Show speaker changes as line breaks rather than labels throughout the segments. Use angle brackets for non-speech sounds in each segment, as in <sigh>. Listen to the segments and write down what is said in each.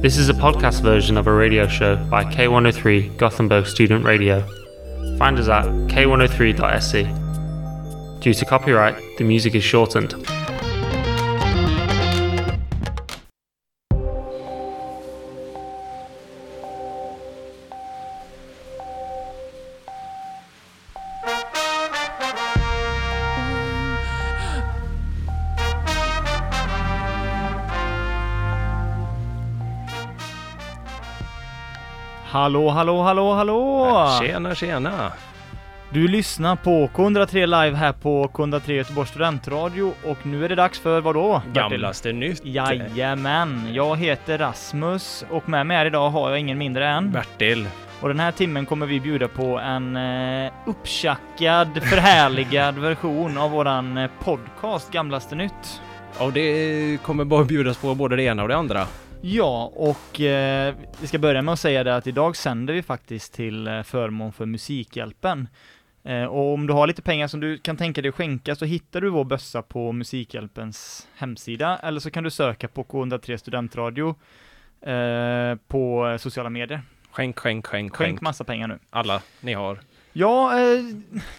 This is a podcast version of a radio show by K103 Gothenburg Student Radio. Find us at k103.se. E. Due to copyright, the music is shortened.
Hallå, hallå, hallå, hallå!
Tjena, tjena!
Du lyssnar på K103 Live här på K103 Göteborgs studentradio och nu är det dags för vad då? Bertil?
Gamlaste nytt!
Jajamän! Jag heter Rasmus och med mig här idag har jag ingen mindre än.
Bertil.
Och den här timmen kommer vi bjuda på en eh, upptjackad, förhärligad <laughs> version av våran eh, podcast Gamlaste Nytt.
Ja, det kommer bara bjudas på både det ena och det andra.
Ja, och eh, vi ska börja med att säga det att idag sänder vi faktiskt till eh, förmån för Musikhjälpen. Eh, och om du har lite pengar som du kan tänka dig att skänka så hittar du vår bössa på Musikhjälpens hemsida, eller så kan du söka på K103 Studentradio eh, på sociala medier.
Skänk, skänk, skänk, skänk.
Skänk massa pengar nu.
Alla ni har.
Ja, eh,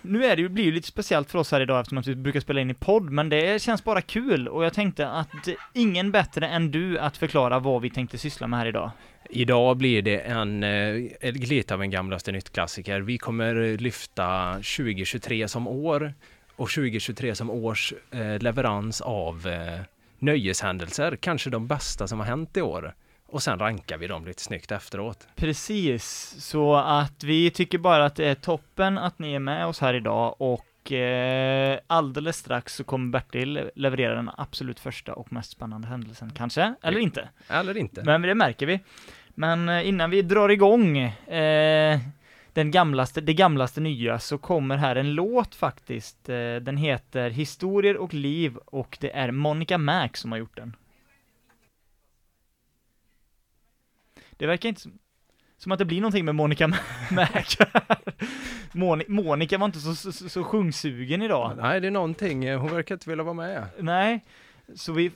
nu är det ju, blir ju lite speciellt för oss här idag eftersom att vi brukar spela in i podd, men det känns bara kul och jag tänkte att ingen bättre än du att förklara vad vi tänkte syssla med här idag.
Idag blir det en, eh, ett- lite av en gamlaste nytt-klassiker. Vi kommer eh, lyfta 2023 som år och 2023 som års eh, leverans av eh, nöjeshändelser, kanske de bästa som har hänt i år. Och sen rankar vi dem lite snyggt efteråt.
Precis, så att vi tycker bara att det är toppen att ni är med oss här idag och eh, alldeles strax så kommer Bertil leverera den absolut första och mest spännande händelsen kanske, eller inte,
Eller inte.
men det märker vi. Men eh, innan vi drar igång eh, den gamlaste, det gamlaste nya så kommer här en låt faktiskt. Eh, den heter Historier och liv och det är Monica Mac som har gjort den. Det verkar inte som, som att det blir någonting med Monica Ma- <laughs> Mac. Moni- Monica var inte så, så, så sjungsugen idag.
Nej, det är någonting. eh, Hon verkar inte vilja vara med.
Nej, så vi,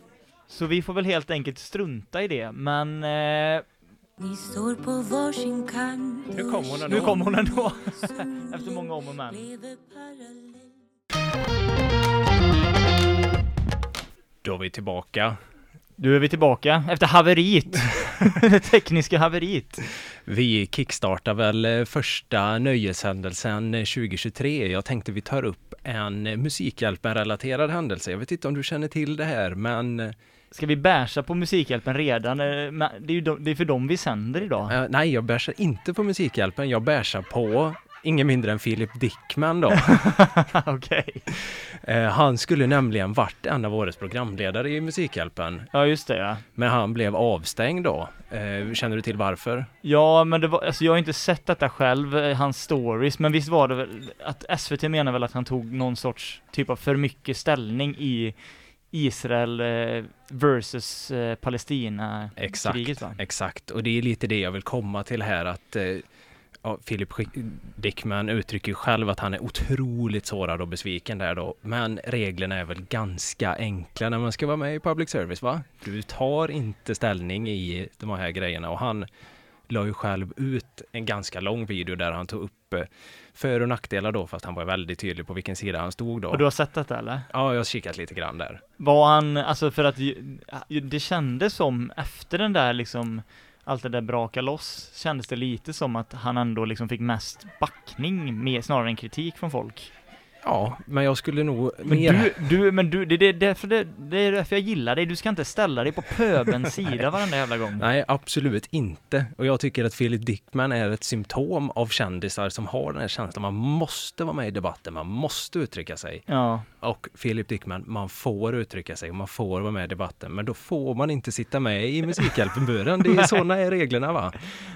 så vi får väl helt enkelt strunta i det, men eh,
Ni står på varsin kant.
Nu kom hon ändå.
nu kom hon ändå.
hon
efter många om och men.
Då är vi tillbaka.
Nu är vi tillbaka efter <laughs> haveriet. det tekniska haveriet.
Vi kickstartar väl eh, första nöjeshändelsen eh, 2023. Jag tänkte vi tar upp en eh, Musikhjälpen-relaterad händelse. Jag vet inte om du känner till det här, men eh,
Ska vi basha på Musikhjälpen redan? Eh, men Det är ju de, det är för dem vi sänder idag.
eh, nej, jag bärsar inte på Musikhjälpen. Jag bärsar på ingen mindre än Philip Dickman <laughs> då.
<laughs> Okej.
Eh, han skulle nämligen varit en av årets programledare i Musikhjälpen,
Ja, just det ja.
men han blev avstängd då. Eh, Känner du till varför?
Ja, men det var, alltså jag har inte sett detta själv, eh, hans stories, men visst var det väl att SVT menar väl att han tog någon sorts typ av för mycket ställning i Israel eh, versus eh, Palestina
Exakt,
kriget va?
exakt. Och det är lite det jag vill komma till här att eh, ja, Philip Schick- Dickman uttrycker ju själv att han är otroligt sårad och besviken där då. Men reglerna är väl ganska enkla när man ska vara med i public service va? Du tar inte ställning i de här grejerna och han la ju själv ut en ganska lång video där han tog upp eh, för och nackdelar då fast han var väldigt tydlig på vilken sida han stod då.
Och du har sett detta eller?
Ja, jag har kikat lite grann där.
Var han, alltså för att ju- ju- det kändes som efter den där liksom allt det där braka loss kändes det lite som att han ändå liksom fick mest backning mer, snarare än kritik från folk.
Ja, men jag skulle nog
Men
mer...
du, du, men du, det, det, är därför det, det är därför jag gillar dig, du ska inte ställa dig på
<laughs>
pöbens sida varenda jävla gång.
Nej, absolut inte. Och jag tycker att Philip Dickman är ett symptom av kändisar som har den här känslan. Man måste vara med i debatten, man måste uttrycka sig.
Ja,
Och Philip Dickman, man får uttrycka sig och man får vara med i debatten. Men då får man inte sitta med i Musikhjälpen-buren. Det är sådana är reglerna va?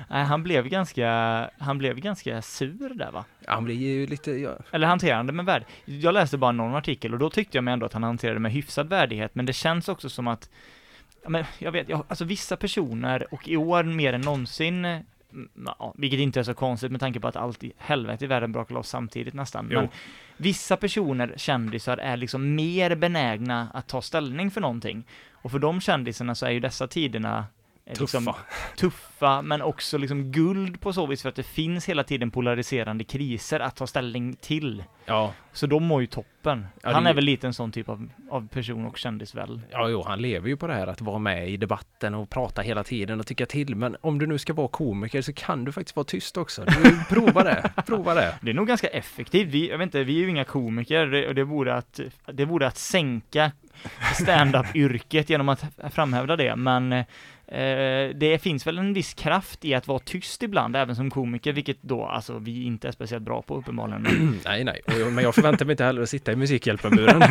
nej, han blev ganska, han blev ganska sur där va?
Han blir ju lite... Ja.
Eller hanterande med värd. Jag läste bara någon artikel och då tyckte jag mig ändå att han hanterade det med hyfsad värdighet, men det känns också som att, ja, men jag vet, jag, alltså vissa personer, och i år mer än någonsin, mm, ja, vilket inte är så konstigt med tanke på att allt i helvete i världen brakar loss samtidigt nästan,
Jo.
men vissa personer, kändisar, är liksom mer benägna att ta ställning för någonting. Och för de kändisarna så är ju dessa tiderna eh,
Tuffa.
Liksom, tuffa, men också liksom guld på så vis för att det finns hela tiden polariserande kriser att ta ställning till.
Ja,
Så de mår ju toppen.
Ja, det
Han
är-
är väl lite en sån typ av, av person och kändis väl?
ja jo, han lever ju på det här att vara med i debatten och prata hela tiden och tycka till. Men om du nu ska vara komiker så kan du faktiskt vara tyst också. Du, prova det, prova det.
Det är nog ganska effektivt. Vi, jag vet inte, vi är ju inga komiker det- och det vore att, det vore att sänka stand-up-yrket genom att framhävda det, men eh, det finns väl en viss kraft i att vara tyst ibland, även som komiker, vilket då alltså vi inte är speciellt bra på
<clears throat>
uppenbarligen.
Mm, nej, nej, och, jag- men jag förväntar mig inte heller att sitta i <laughs> Musikhjälpen-buren.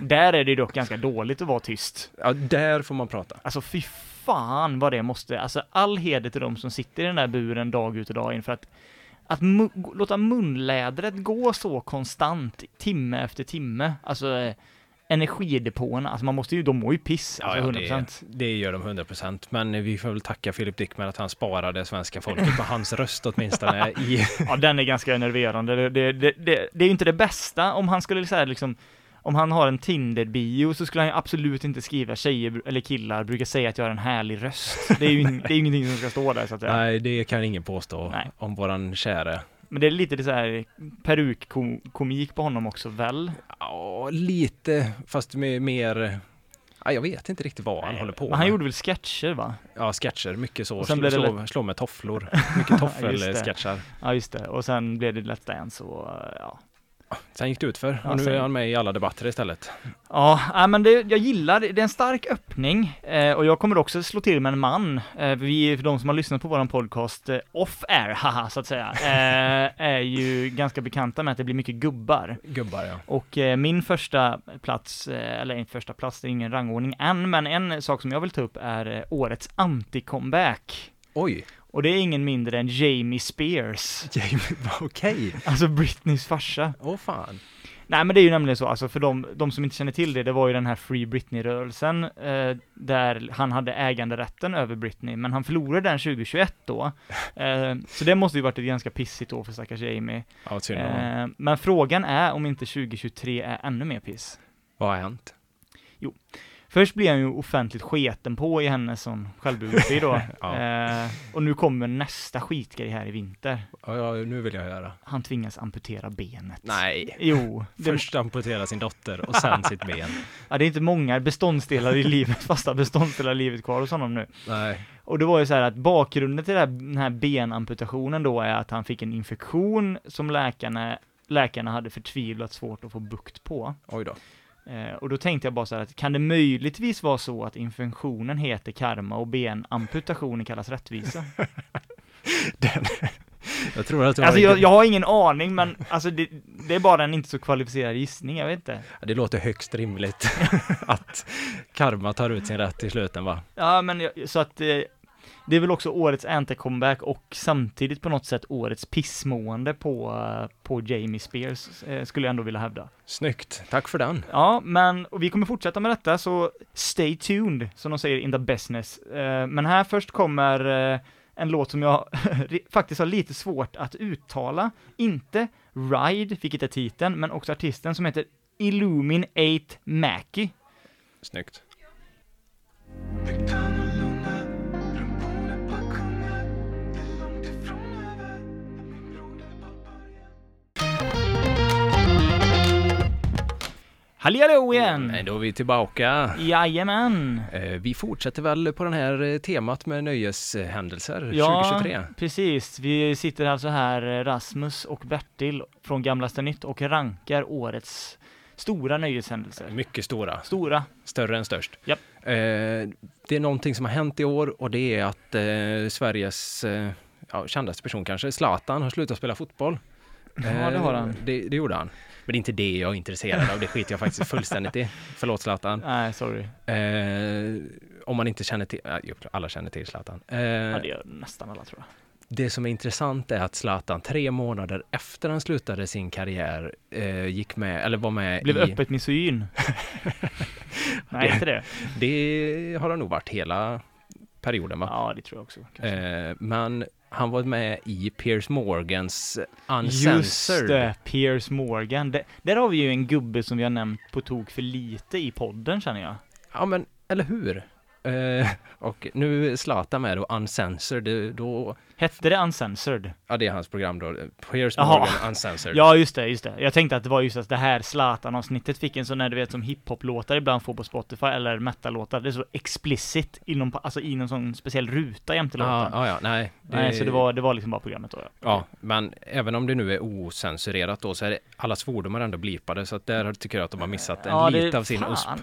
Där är det dock ganska dåligt att vara tyst.
Ja, där får man prata.
Alltså fy fan vad det måste, alltså all heder till de som sitter i den där buren dag ut och dag in för att att mu- låta munlädret gå så konstant, timme efter timme, alltså eh, energidepåerna, alltså man måste ju, de mår ju piss, alltså 100%.
Det, det gör de 100%. Men vi får väl tacka Philip Dickman att han sparade svenska folket på hans
<laughs>
röst åtminstone. I,
Ja, den är ganska enerverande. Det, det, det, det, det är ju inte det bästa om han skulle säga liksom om han har en Tinder-bio så skulle han ju absolut inte skriva tjejer eller killar brukar säga att jag har en härlig röst. Det är ju in, det är ju ingenting som ska stå där så att säga.
nej, det kan ingen påstå
Nej.
om våran käre.
Men det är lite det så här perukkomik på honom också väl?
Ja, lite, fast med mer... Ja, jag vet inte riktigt vad han håller på
Men han gjorde väl sketcher va?
Ja, sketcher, mycket så.
Och sen
Slå,
blev det
slå, slå
<laughs>
med tofflor. Mycket
Just det.
toffelsketcher.
Ja just det, och sen blev det Let's Dance och ja.
Sen gick det ut för
Ja,
och nu
sen-
är han med i alla debatter istället.
Ja, nej, men det, jag gillar, det är en stark öppning eh, och jag kommer också slå till med en man. Eh, vi, för de som har lyssnat på våran podcast eh, off-air, <laughs> haha så att säga, eh, är ju ganska bekanta med att det blir mycket gubbar.
Gubbar, ja.
Och eh, min första plats, eh, eller en första plats, det är ingen rangordning än, men en sak som jag vill ta upp är eh, årets anti-comeback.
Oj!
Och det är ingen mindre än Jamie Spears,
Jamie, <laughs> okej!
<laughs> alltså Britneys farsa.
Åh fan!
Nej men det är ju nämligen så, alltså för de, de som inte känner till det, det var ju den här Free Britney-rörelsen, eh, där han hade äganderätten över Britney, men han förlorade den 2021 <laughs> då. Eh, så det måste ju varit ett ganska pissigt år för stackars Jamie.
Ja, synd om honom.
Eh, men frågan är om inte 2023 är ännu mer piss.
Vad har hänt?
Först blir han ju offentligt sketen på i henne som självbiografi <laughs> då.
Ja.
eh, och nu kommer nästa skitgrej här i vinter.
Ja, ja, nu vill jag höra.
Han tvingas amputera benet.
Nej!
Jo, det,
Först amputera sin dotter
<laughs>
och sen sitt ben.
ja, det är inte många
<laughs>
beståndsdelar i livet, fasta beståndsdelar i livet kvar hos honom nu.
Nej.
Och det var ju så här att bakgrunden till det här, den här benamputationen då är att han fick en infektion som läkarna, läkarna hade förtvivlat svårt att få bukt på.
Oj då.
Eh, och då tänkte jag bara så här att kan det möjligtvis vara så att infektionen heter karma och benamputationen kallas rättvisa?
<laughs> Jag tror att <laughs> det, var
Alltså jag, jag har ingen aning men alltså det, det är bara en inte så kvalificerad gissning, jag vet inte.
det låter högst rimligt <laughs> att karma tar ut sin rätt i sluten va?
Ja, men jag, så att eh, det är väl också årets anti-comeback och samtidigt på något sätt årets pissmående på, eh, på Jamie Spears, eh, skulle jag ändå vilja hävda.
Snyggt, tack för den.
Ja, men och vi kommer fortsätta med detta, så stay tuned, som de säger in the business. Eh, men här först kommer eh, en låt som jag <laughs> ri- faktiskt har lite svårt att uttala. Inte Ride, vilket är titeln, men också artisten som heter Illumin 8 Mackie.
Snyggt.
Halli hallå igen!
Men då är vi tillbaka.
Jajamän!
Eh, Vi fortsätter väl på den här eh, temat med nöjeshändelser
Ja,
2023.
precis. Vi sitter alltså här, eh, Rasmus och Bertil från Gamlaste Nytt och rankar årets stora nöjeshändelser.
Mycket stora,
Stora.
större än störst.
Japp.
Eh, Det är någonting som har hänt i år och det är att eh, Sveriges eh, ja, kändaste person kanske, Zlatan, har slutat spela fotboll.
Ja, det har
Eh,
han.
Det, det gjorde han. Men det är inte det jag är intresserad av, det skiter jag faktiskt
<laughs>
fullständigt i. Förlåt Zlatan.
Nej, sorry.
Eh, om man inte känner till, ja, jo, alla känner till Zlatan. Eh,
Ja, det gör nästan alla tror jag.
det som är intressant är att Zlatan tre månader efter han slutade sin karriär eh, gick med, eller var med
Blev
Eh, i,
öppet
<laughs>
misogyn. Nej, inte det.
det har han nog varit hela perioden va?
Ja, det tror jag också. kanske.
Eh, men han var med i Piers Morgans
Just
Uncensored.
det, Piers Morgan. Det, där har vi ju en gubbe som vi har nämnt på tok för lite i podden känner jag.
Ja men, eller hur? Eh, och nu är Zlatan med då, Uncensored, då,
Hette det Uncensored?
ja det är hans program då, Piers
Jaha.
Morgan Uncensored.
Ja, just det, just det. Jag tänkte att det var just att det här Zlatan-avsnittet fick en sån där du vet som hiphop-låtar ibland får på Spotify, eller metal-låtar. Det är så explicit inom, alltså i någon sån speciell ruta jämte
Ja,
låten.
ja, ja, nej.
Nej, så det var, det var liksom bara programmet då ja.
Ja, men även om det nu är osensurerat då så är det, alla svordomar ändå blipade så att där tycker jag att de har missat en
ja, det-
lite av sin USP.
fan.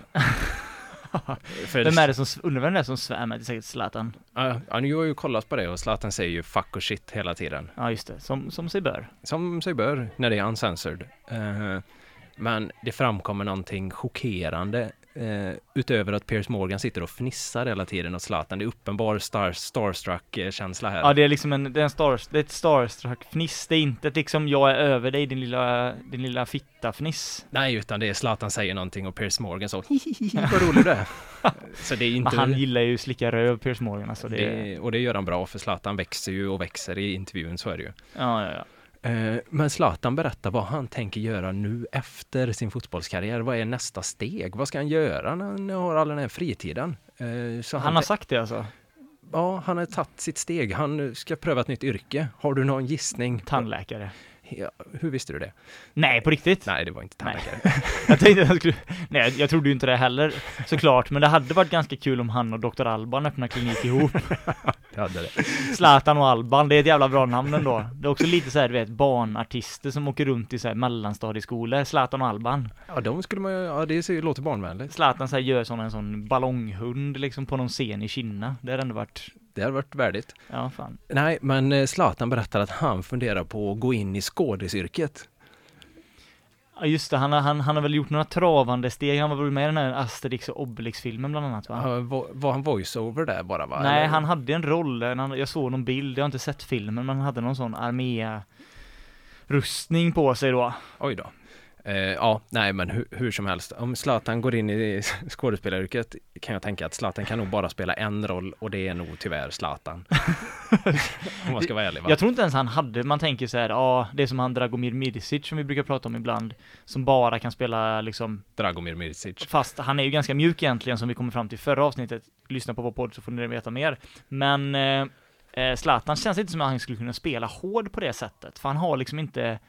För
Vem är det som, undrar vem det är som svär med? Det är säkert Zlatan.
Ja, ja, nu har jag ju kollat på det och Zlatan säger ju fuck och shit hela tiden.
Ja, just det. Som, som sig bör.
Som sig bör när det är uncensored. Eh, men det framkommer någonting chockerande eh, utöver att Piers Morgan sitter och fnissar hela tiden åt Zlatan. Det är uppenbar star, starstruck-känsla här.
Ja, det är liksom en, det är en stars, det är ett starstruck-fniss. Det är inte ett liksom jag är över dig din lilla, din lilla fitta-fniss.
Nej, utan det är Zlatan säger någonting och Piers Morgan så hihihi,
<laughs>
vad rolig du är. Så det är
Men
inte...
han gillar ju slicka röv, Piers Morgan alltså. Det,
det, och det gör han bra för Zlatan växer ju och växer i intervjun, så är det ju.
Ja, ja, ja.
Eh, Men Zlatan berättar vad han tänker göra nu efter sin fotbollskarriär. Vad är nästa steg? Vad ska han göra när han har all den här fritiden? Eh, Så
Han har
tän-
sagt det alltså.
ja, han har tagit sitt steg. Han ska pröva ett nytt yrke. Har du någon gissning?
Tandläkare.
Ja, hur visste du det?
Nej, på riktigt?
Nej, det var inte
Nej.
tandläkare.
Jag tänkte att jag skulle... Nej, jag trodde ju inte det heller, såklart. Men det hade varit ganska kul om han och Dr. Alban öppnar klinik ihop.
Jag hade det.
Zlatan och Alban, det är ett jävla bra namn ändå. Det är också lite såhär, du vet, barnartister som åker runt i såhär mellanstadieskolor. Zlatan och Alban.
Ja, de skulle man ju, ja, det ser ju- låter barnvänligt.
Zlatan så här gör sån en sån ballonghund liksom på någon scen i Kina. Det hade ändå varit,
Det hade varit värdigt.
ja fan.
Nej, men eh, Zlatan berättar att han funderar på att gå in i skådisyrket.
Ja just det, han, har- han, han har väl gjort några travande steg. Han var väl med i den här Asterix och Obelix-filmen bland annat va?
Ja, var, var han voiceover där bara? Va?
Nej,
Eller-
han hade en roll, en annan- jag såg någon bild, jag har inte sett filmen, men han hade någon sån armé rustning på sig då.
Oj då. Eh, ja, nej men hur, hur som helst. Om Zlatan går in i <laughs> skådespelaryrket kan jag tänka att Zlatan kan nog bara spela en roll och det är nog
<laughs>
tyvärr Zlatan. Om man ska vara ärlig va?
Jag tror inte ens han hade, man tänker så här, ja, det är som han Dragomir Midicic som vi brukar prata om ibland, som bara kan spela liksom
Dragomir Miricic.
Fast han är ju ganska mjuk egentligen som vi kommer fram till i förra avsnittet. Lyssna på vår podd så får ni veta mer. Men eh, eh, Zlatan känns inte som att han skulle kunna spela hård på det sättet. För han har liksom inte...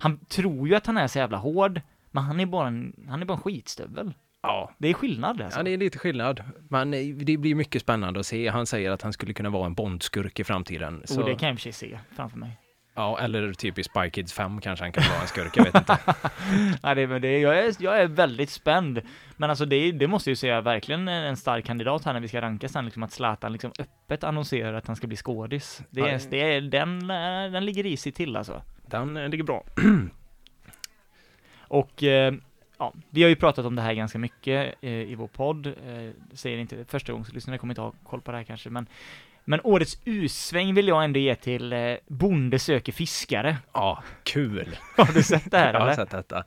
Han tror ju att han är så jävla hård, men han är bara en, han är bara en skitstövel.
Ja.
Det är skillnad alltså.
ja, det är lite skillnad. Men eh, det blir mycket spännande att se. Han säger att han skulle kunna vara en Bondskurk i framtiden. Så,
Och Oh, det kan jag i och för sig se framför mig.
Ja, eller typ i Spy Kids 5 kanske han kan vara en skurk, jag
<laughs>
vet inte.
<laughs> Nej, det, men det, jag, är, jag är väldigt spänd. Men alltså det, det måste ju säga verkligen en en stark kandidat här när vi ska ranka sen, liksom att Zlatan liksom öppet annonserar att han ska bli skådis. Det
Ja.
är, det är, den, eh, den ligger risigt till alltså.
Den eh, ligger bra.
Och eh, ja, vi har ju pratat om det här ganska mycket eh, i vår podd. Eh, säger inte första gången, så lyssnarna kommer inte ha koll på det här kanske, men men årets U-sväng vill jag ändå ge till eh, Bonde söker fiskare. <laughs>
Ja, kul.
Har du sett det här
Jag har
eller?
sett detta.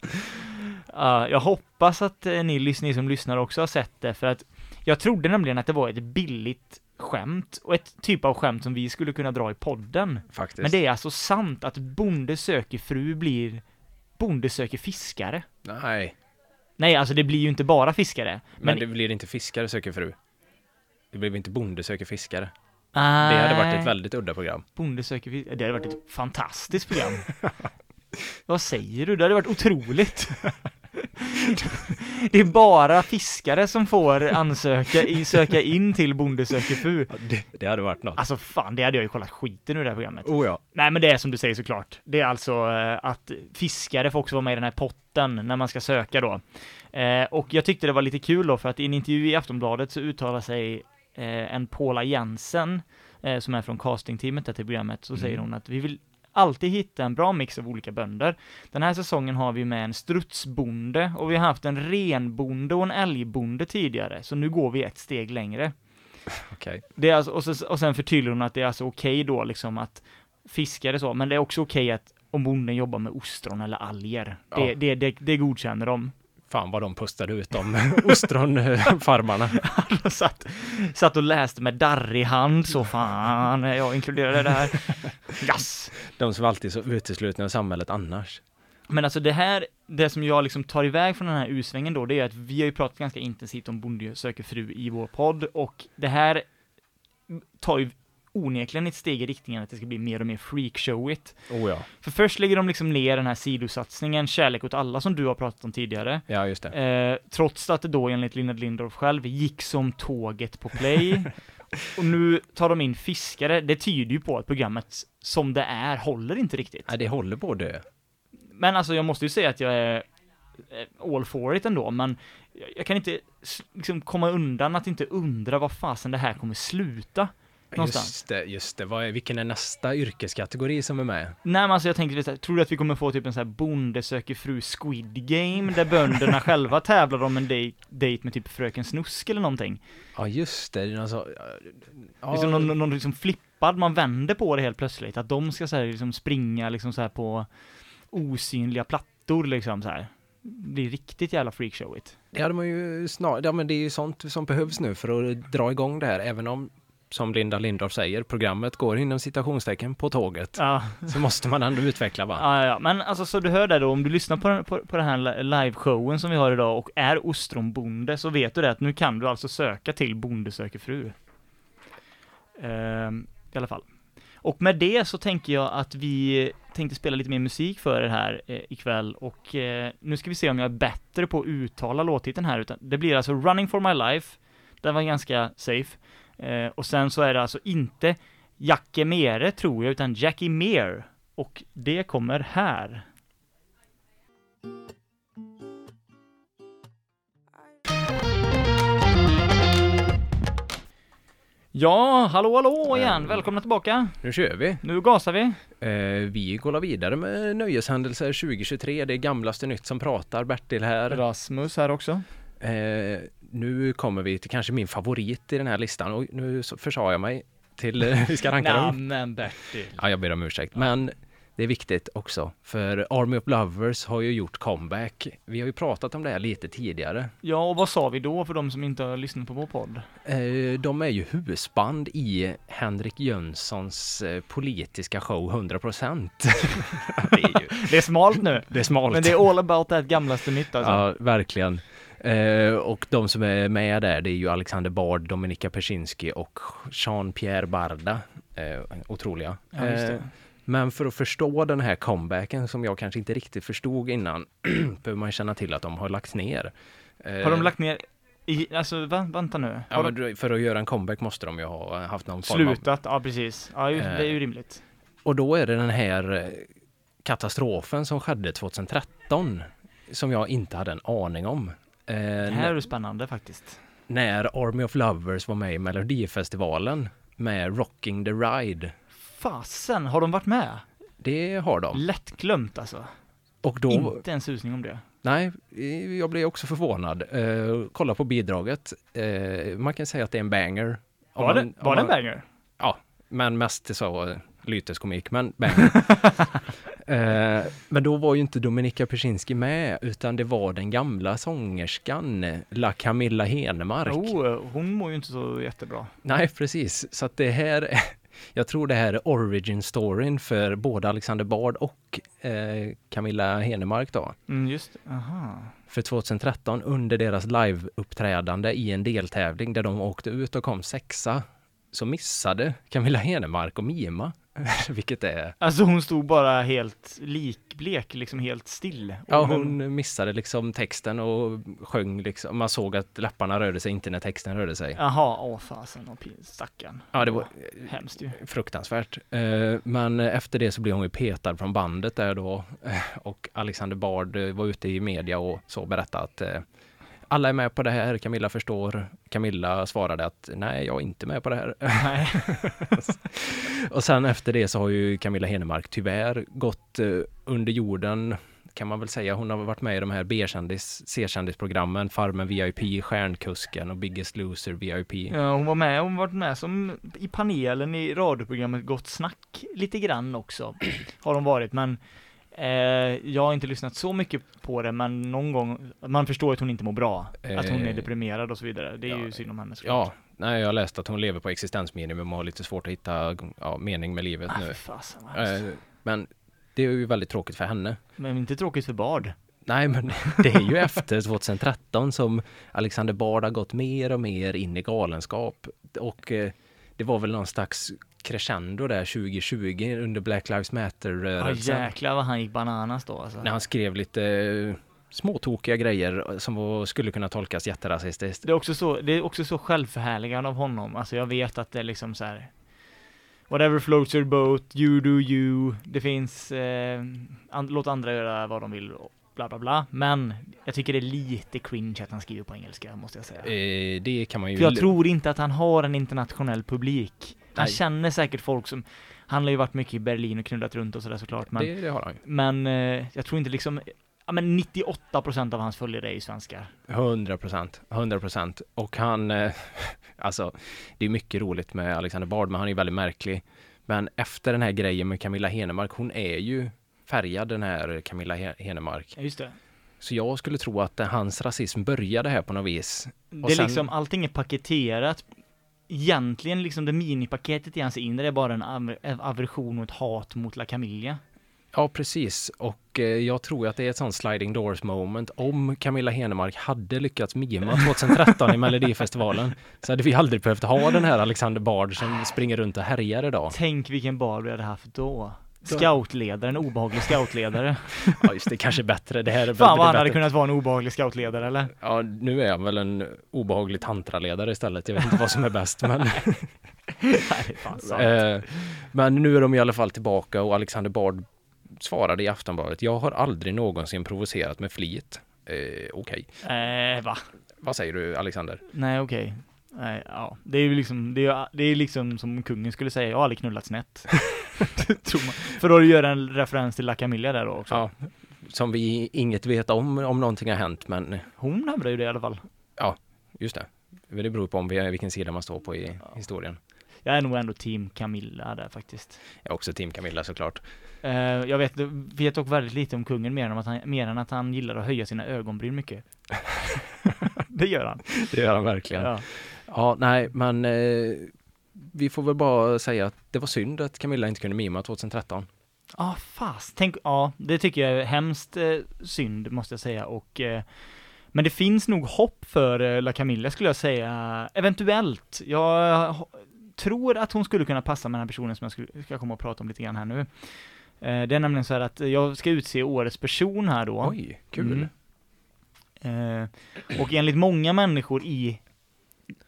Ja, jag hoppas att eh, ni, lys- ni som lyssnar också har sett det, för att jag trodde nämligen att det var ett billigt skämt och ett typ av skämt som vi skulle kunna dra i podden.
Faktiskt.
Men det är alltså sant att Bonde söker fru blir Bonde söker fiskare.
Nej,
Nej, alltså det blir ju inte bara fiskare.
men, det blir inte fiskare söker fru. Det blir inte bonde söker fiskare. Det hade varit ett väldigt udda program.
Bonde söker fisk... Det hade varit ett fantastiskt program. Vad säger du? Det hade varit otroligt. <laughs> Det är bara fiskare som får ansöka, i- söka in till Bonde söker fru.
det, hade varit något.
Alltså fan, det hade jag ju kollat skiten ur det här programmet.
Oh ja.
Nej men det är som du säger såklart. Det är alltså eh, att fiskare får också vara med i den här potten när man ska söka då. Eh, och jag tyckte det var lite kul då för att i en intervju i Aftonbladet så uttalar sig eh, en Paula Jensen eh, som är från castingteamet där till programmet så säger hon att vi vill alltid hitta en bra mix av olika bönder. Den här säsongen har vi med en strutsbonde och vi har haft en renbonde och en älgbonde tidigare så nu går vi ett steg längre.
Okej.
Det är alltså, och, så, och sen förtydligar hon att det är alltså okej då liksom att fiskare så, men det är också okej att om bonden jobbar med ostron eller alger. Det,
Ja.
det, det, det godkänner de. <laughs>
Fan vad de pustade ut de <laughs> ostronfarmarna.
Och satt, satt och läste med darrig hand så fan, jag inkluderade det här. Yes!
De som alltid är så uteslutna av samhället annars.
Men alltså det här, det som jag liksom tar iväg från den här U-svängen då, det är att vi har ju pratat ganska intensivt om Bonde söker fru i vår podd, och det här tar ju onekligen ett steg i riktningen att det ska bli mer och mer freakshowigt.
Oh ja.
För först lägger de liksom ner den här sidosatsningen, Kärlek åt alla, som du har pratat om tidigare,
Ja, just det.
Eh, trots att det då enligt Linda Lindorff själv gick som tåget på play. och nu tar de in fiskare. Det tyder ju på att programmet som det är håller inte riktigt.
Nej, det håller på att dö.
Men alltså jag måste ju säga att jag är eh, all for it ändå, men jag- jag kan inte s- liksom komma undan att inte undra vad fasen det här kommer sluta. Någonstans.
Just det, just det. Vad är, vilken är nästa yrkeskategori som är med?
Nej men alltså jag tänker, så här, tror du att vi kommer få typ en sån här bonde söker fru squid game, där bönderna själva tävlar om en dej- dejt med typ fröken Snusk eller någonting?
Ja, just det. det är någon så, ja,
Liksom någon, någon- någon liksom flippad, man vänder på det helt plötsligt. Att de ska så här, liksom springa liksom så här på osynliga plattor liksom så här. Det blir riktigt jävla freakshowigt.
det hade man ju snar, ja, men det är ju sånt som behövs nu för att dra igång det här, även om som Linda Lindorff säger, programmet går inom citationstecken på tåget.
Ja.
Så måste man ändå utveckla va?
Ja, ja, ja, men alltså så du hör där då, om du lyssnar på, den- på, på den här li- liveshowen som vi har idag och är ostronbonde så vet du det att nu kan du alltså söka till Bonde söker fru. Ehm, I alla fall. Och med det så tänker jag att vi tänkte spela lite mer musik för er här eh, ikväll och eh, nu ska vi se om jag är bättre på att uttala låttiteln här utan det blir alltså Running for my life, den var ganska safe. Eh, och sen så är det alltså inte Jacke Mere tror jag utan Jackie Mere och det kommer här. Ja, hallå hallå igen! Välkomna tillbaka!
Nu kör vi!
Nu gasar vi!
Eh, vi går vidare med nöjeshändelser 2023. Det är gamlaste nytt som pratar. Bertil här.
Rasmus här också.
Eh, nu kommer vi till kanske min favorit i den här listan. Och nu så- försade jag mig till eh, vi ska ranka dem.
men Bertil!
Ja, jag ber om ursäkt. Men det är viktigt också, för Army of Lovers har ju gjort comeback. Vi har ju pratat om det här lite tidigare.
Ja, och vad sa vi då för de som inte har lyssnat på vår podd?
Eh, De är ju husband i Henrik Jönssons eh, politiska show 100%. <laughs> det är ju
Det är smalt nu!
det är smalt.
Men det är all about that gamlaste nytt alltså.
Ja, verkligen. Eh, och de som är med där, det är ju Alexander Bard, Dominika Persinski och Jean-Pierre Barda. Eh, otroliga.
Ja, just det.
Eh, men för att förstå den här comebacken som jag kanske inte riktigt förstod innan, <clears throat> behöver man känna till att de har lagts ner. Eh,
Har de lagt ner... I, alltså, va, vänta nu.
Ja,
Har
men
de
du- för att göra en comeback måste de ju ha haft någon form av...
slutat? Ja, precis. Ja, ju, det är
Eh.
ju rimligt.
Och då är det den här eh, katastrofen som skedde 2013 som jag inte hade en aning om. Eh,
Det här är ju spännande faktiskt.
när Army of Lovers var med i Melodifestivalen med Rocking the Ride.
Fasen, har de varit med?
Det har de.
Lättglömt alltså.
Och då,
Inte en susning om det.
nej, eh, jag blev också förvånad. Eh, kolla på bidraget. Eh, man kan säga att det är en banger. Om
Var,
man-
det,
om
var det en
man-
banger?
Ja, men mest så eh, lyteskomik, men
<laughs>
banger. eh, men då var ju inte Dominika Persinski med, utan det var den gamla sångerskan La Camilla Henemark.
Oh, hon mår ju inte så jättebra.
Nej, precis. Så att det här, <laughs> jag tror det här är origin storyn för både Alexander Bard och eh, Camilla Henemark då.
Mm, just det. Aha.
För 2013 under deras liveuppträdande i en deltävling där de åkte ut och kom sexa så missade Camilla Henemark och mima, <laughs> vilket är
Alltså hon stod bara helt likblek, liksom helt still. Och
Ja,
den-
hon missade liksom texten och sjöng liksom. Man såg att läpparna rörde sig inte när texten rörde sig.
Jaha, åh fasen, och pin- stackarn.
Ja, det var
Hemskt ju.
fruktansvärt. Eh, Men efter det så blev hon ju petad från bandet där då Eh, och Alexander Bard eh, var ute i media och så berättade att eh, alla är med på det här, Camilla förstår. Camilla svarade att nej, jag är inte med på det här.
Nej.
<laughs> Och sen efter det så har ju Camilla Henemark tyvärr gått eh, under jorden kan man väl säga. Hon har varit med i de här B-kändis, C-kändisprogrammen, Farmen VIP, Stjärnkusken och Biggest Loser VIP.
Ja, hon var med, hon varit med som i panelen i radioprogrammet Gott Snack lite grann också. <clears throat> Har hon varit, men eh, jag har inte lyssnat så mycket på det, men någon gång, man förstår att hon inte mår bra. Att hon är
Eh,
deprimerad och så vidare. Det är
ja,
ju synd om henne såklart.
Ja, nej, jag läste att hon lever på existensminimum och har lite svårt att hitta ja, mening med livet
Ah,
nu.
fy fasen vad hemskt.
Eh, Men Det är ju väldigt tråkigt för henne.
Men inte tråkigt för Bard.
Nej, <laughs> men det är ju efter 2013 som Alexander Bard har gått mer och mer in i galenskap. Och eh, det var väl någon slags crescendo där 2020 under Black Lives
Ja
Matter-rörelsen.
Ah, jäklar vad han gick bananas då alltså.
när han skrev lite eh, småtokiga grejer som var, skulle kunna tolkas jätterasistiskt.
Det är också så, det är också så självförhärligande av honom. Alltså jag vet att det är liksom så här. Whatever floats your boat, you do you. Det finns, eh, an, låt andra göra vad de vill, och bla bla bla. Men jag tycker det är lite cringe att han skriver på engelska, måste jag säga.
Eh, det kan man ju...
För jag tror inte att han har en internationell publik. Han
Nej.
känner säkert folk som, han har ju varit mycket i Berlin och knullat runt och sådär såklart, men,
det, det har han ju.
men eh, jag tror inte liksom, ja men 98% av hans följare är ju svenskar.
100 procent, 100 procent. Och han, eh, <laughs> alltså, det är mycket roligt med Alexander Bard, men han är ju väldigt märklig. Men efter den här grejen med Camilla Henemark, hon är ju färgad den här Camilla He- Henemark.
Ja, just det.
Så jag skulle tro att eh, hans rasism började här på något vis.
Det
Och
är
sen-
liksom, allting är paketerat. Egentligen liksom det minipaketet i hans inre är bara en aver- en aversion och ett hat mot La Camilla.
Ja, precis. Och eh, jag tror att det är ett sånt sliding doors moment. Om Camilla Henemark hade
<laughs>
lyckats mima 2013 i Melodifestivalen så hade vi aldrig behövt ha den här Alexander Bard
Ah.
som springer runt och härjar idag.
Tänk vilken bar vi hade haft då. Scoutledare, en obehaglig <laughs> scoutledare.
Ja, just det, kanske bättre. Det här är
Fan vad han
bättre.
hade kunnat vara en obehaglig scoutledare eller?
Ja, nu är han väl en obehaglig tantraledare istället. Jag vet inte vad som är bäst, <laughs> men...
<laughs> Nej, det är fan sant.
eh, men nu är de i alla fall tillbaka och Alexander Bard svarade i Aftonbladet. Jag har aldrig någonsin provocerat med flit. Eh, Okej,
Eh, va?
vad säger du Alexander?
Nej okej. Nej, ja. Det är ju liksom, det är, det är liksom som kungen skulle säga, jag har aldrig knullat <laughs> snett. Tror man. För då gör en referens till La Camilla där då också.
Ja, som vi inget vet om, om någonting har hänt, men
Hon nämnde ju det i alla fall.
just det. Men Det beror på om vi, vilken sida man står på i historien.
Jag är nog ändå team Camilla där faktiskt.
Jag är också team Camilla såklart.
Eh, jag vet, vet dock väldigt lite om kungen mer än, att han, mer än att han gillar att höja sina ögonbryn mycket. det gör han.
<laughs> Det gör han verkligen.
Ja.
Ja, nej, men eh, vi får väl bara säga att det var synd att Camilla inte kunde mima 2013.
Ah, fast. Tänk, ja, det tycker jag är hemskt eh, synd, måste jag säga. Och, eh, men det finns nog hopp för eh, La Camilla, skulle jag säga. Eventuellt. Jag ho- tror att hon skulle kunna passa med den här personen som jag skulle, ska komma och prata om lite grann här nu. Eh, det är nämligen så här att jag ska utse årets person här då.
Oj, kul.
Mm. Eh, och enligt många människor i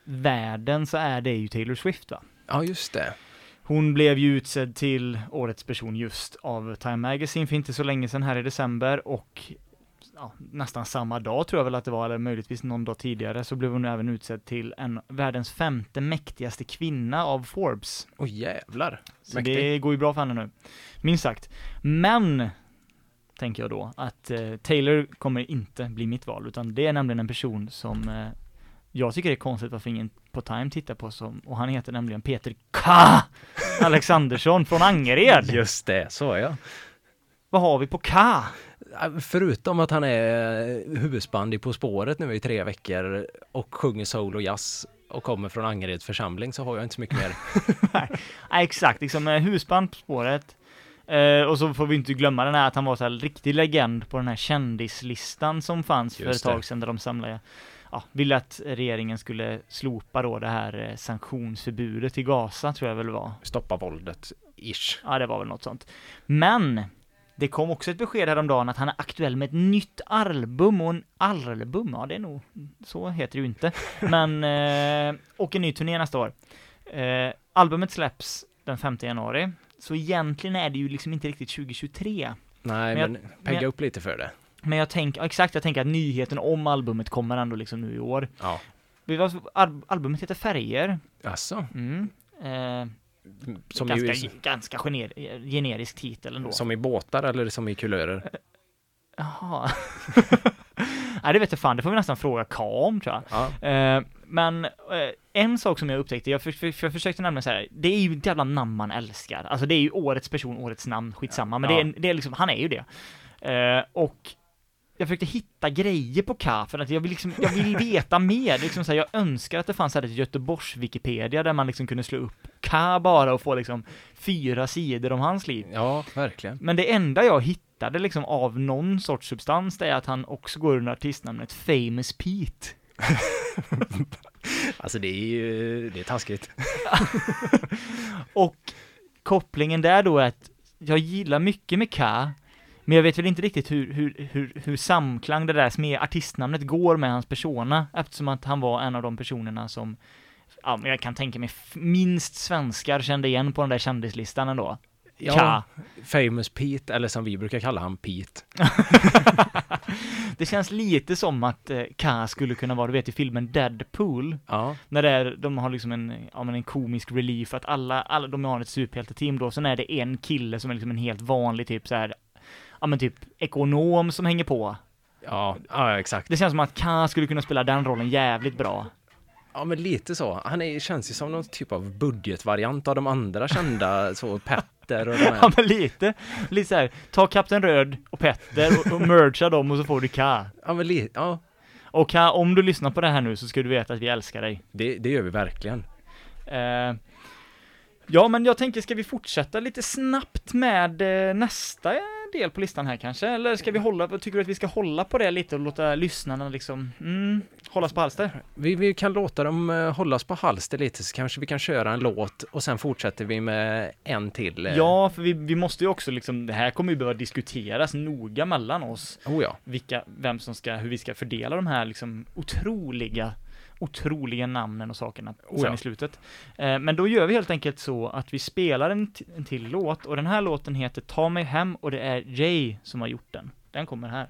världen så är det ju Taylor Swift va?
Ja, just det.
Hon blev ju utsedd till årets person just av Time Magazine för inte så länge sedan här i december och ja, nästan samma dag tror jag väl att det var, eller möjligtvis någon dag tidigare, så blev hon även utsedd till en världens femte mäktigaste kvinna av Forbes.
Åh jävlar.
Så
Mäktig.
det går ju bra för henne nu, minst sagt. Men, tänker jag då, att eh, Taylor kommer inte bli mitt val, utan det är nämligen en person som eh, jag tycker det är konstigt varför ingen på Time tittar på som, och han heter nämligen Peter K. Alexandersson från Angered.
Just det, så ja.
Vad har vi på K?
Äh, Förutom att han är husband i På spåret nu i tre veckor och sjunger soul och jazz och kommer från Angereds församling så har jag inte så mycket mer.
Ja, exakt, liksom eh, husband på spåret. Eh, och så får vi inte glömma den här att han var så här riktig legend på den här kändislistan som fanns för ett
Just
tag
det.
sedan där de samlade, ja, ville att regeringen skulle slopa då det här eh, sanktionsförbudet i Gaza tror jag väl det var.
<laughs> Stoppa våldet, ish.
Ja, det var väl något sånt. Men, det kom också ett besked häromdagen att han är aktuell med ett nytt album och en album, ja det är nog, så heter det ju inte. Men, eh, och en ny turné nästa år. Eh, albumet släpps den 5 januari, så egentligen är det ju liksom inte riktigt 2023.
Nej,
Men jag-
men, pegga
men jag-
upp lite för det.
Men jag tänker, ja, exakt, jag tänker att nyheten om albumet kommer ändå liksom nu i år.
Ja.
Vi var- al- Albumet heter Färger.
Alltså,
Mm. Eh,
som,
ganska
i,
ganska gener- generisk titel ändå.
som i båtar eller som i kulörer. <laughs>
Jaha. <laughs> Nej, det vet jag fan, det får vi nästan fråga Kam tror jag.
Ja.
Eh, men eh, en sak som jag upptäckte, jag, för, för, för jag försökte nämna så här, det är ju ett jävla namn man älskar. Alltså det är ju årets person, årets namn, skitsamma, men
Ja.
det, är, det är liksom, han är ju det. Eh, och jag jag försökte hitta grejer på K, för att jag vill liksom, jag vill veta mer. Liksom så här, jag önskar att det fanns här ett Göteborgs-Wikipedia där man liksom kunde slå upp K bara och få liksom fyra sidor om hans liv.
Ja, verkligen.
Men det enda jag hittade liksom av någon sorts substans, det är att han också går under artistnamnet Famous Pete.
Alltså det är ju, det är taskigt.
Och kopplingen där då är att jag gillar mycket med Ka, men jag vet väl inte riktigt hur, hur, hur, hur samklang det där med artistnamnet går med hans persona, eftersom att han var en av de personerna som, ja, men jag kan tänka mig, f- minst svenskar kände igen på den där kändislistan ändå. Ka.
Famous Pete, eller som vi brukar kalla han, Pete.
Det känns lite som att eh, Ka skulle kunna vara, du vet i filmen Deadpool,
Ja,
När det är, de har liksom en, ja, men en komisk relief, att alla, alla, de har ett superhjälteteam då, sen är det en kille som är liksom en helt vanlig typ så här, ja men typ ekonom som hänger på.
ja, ja exakt.
Det känns som att Ka skulle kunna spela den rollen jävligt bra.
Ja, men lite så. Han är, känns ju som någon typ av budgetvariant av de andra <laughs> kända, så Petter och de
Ja
här.
men lite, lite så här, ta Kapten Röd och Petter och, och mergea dem och så får du Ka.
Ja, men li- ja
Och Ka, om du lyssnar på det här nu så ska du veta att vi älskar dig.
det, det gör vi verkligen.
Eh, ja, men jag tänker, ska vi fortsätta lite snabbt med eh, nästa del på listan här kanske? Eller ska vi hålla, på- tycker du att vi ska hålla på det lite och låta lyssnarna liksom, mm, hållas på halster?
Vi, vi kan låta dem eh, hållas på halster lite, så kanske vi kan köra en låt och sen fortsätter vi med en till. eh.
Ja, för vi, vi måste ju också liksom, det här kommer ju behöva diskuteras noga mellan oss,
Oh, ja.
vilka, vem som ska, hur vi ska fördela de här liksom otroliga otroliga namnen och sakerna
Oh
sen
ja.
i slutet. Eh, men då gör vi helt enkelt så att vi spelar en, t- en till låt och den här låten heter Ta mig hem och det är Jay som har gjort den. Den kommer här.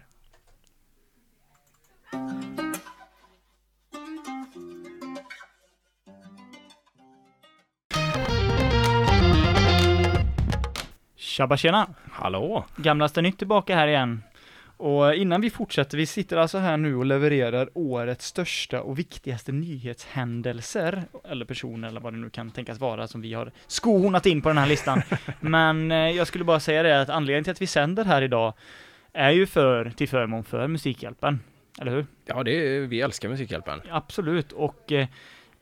Tjabba tjena!
Hallå!
Gamlaste nytt tillbaka här igen. Och innan vi fortsätter, vi sitter alltså här nu och levererar årets största och viktigaste nyhetshändelser, eller personer eller vad det nu kan tänkas vara som vi har skohornat in på den här listan. Men eh, jag skulle bara säga det att anledningen till att vi sänder här idag är ju för, till förmån för Musikhjälpen. Eller hur?
Ja, det, är- vi älskar Musikhjälpen.
Absolut, och eh,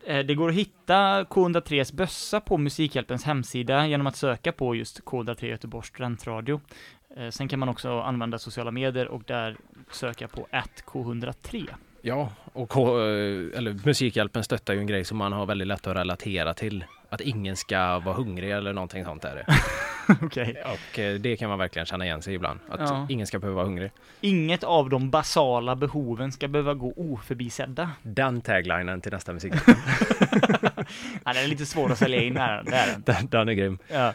eh, det går att hitta K103s bössa på Musikhjälpens hemsida genom att söka på just K103 Göteborgs studentradio. Eh, Sen kan man också använda sociala medier och där söka på @k103.
Ja, och K- eh, eller Musikhjälpen stöttar ju en grej som man har väldigt lätt att relatera till. Att ingen ska vara hungrig eller någonting sånt <laughs> där.
<laughs> Okej.
Och eh, det kan man verkligen känna igen sig ibland. Att
Ja.
ingen ska behöva vara hungrig.
Inget av de basala behoven ska behöva gå oförbisedda.
Den taglinen till nästa musik.
Ja, den är lite svår att sälja in här. Det är den.
<laughs> den, den är grym.
<laughs> Ja.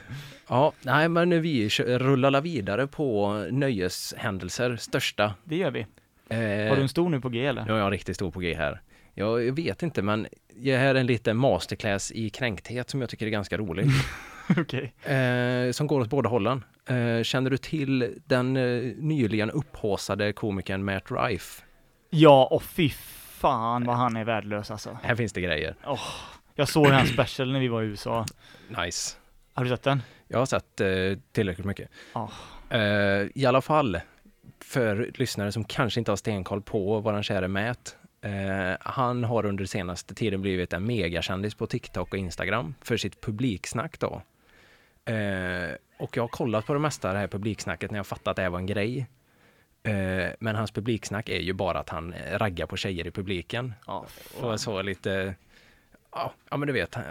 Ja, nej men vi kö- rullar la vidare på nöjeshändelser, största.
Det gör vi.
Eh,
Har du en stor nu på G eller?
Nu har jag riktigt stor på G här. Jag jag vet inte men det här är en liten masterclass i kränkthet som jag tycker är ganska rolig.
<laughs> Okej.
eh, som går åt båda hållen. Eh, känner du till den eh, nyligen upphaussade komikern Matt Rife?
Ja, och fy fan vad han är värdelös alltså.
Här finns det grejer.
Jag såg hans special när vi var i USA.
Nice.
Har du sett den?
Jag har sett eh, tillräckligt mycket.
Ja.
Eh, I alla fall, för lyssnare som kanske inte har stenkoll på våran käre Matt. Eh, han har under senaste tiden blivit en megakändis på TikTok och Instagram för sitt publiksnack då. Eh, och jag har kollat på det mesta av det här publiksnacket när jag fattat att det här var en grej. Eh, men hans publiksnack är ju bara att han eh, raggar på tjejer i publiken.
Ja,
och så lite, ja, ja men du vet, eh,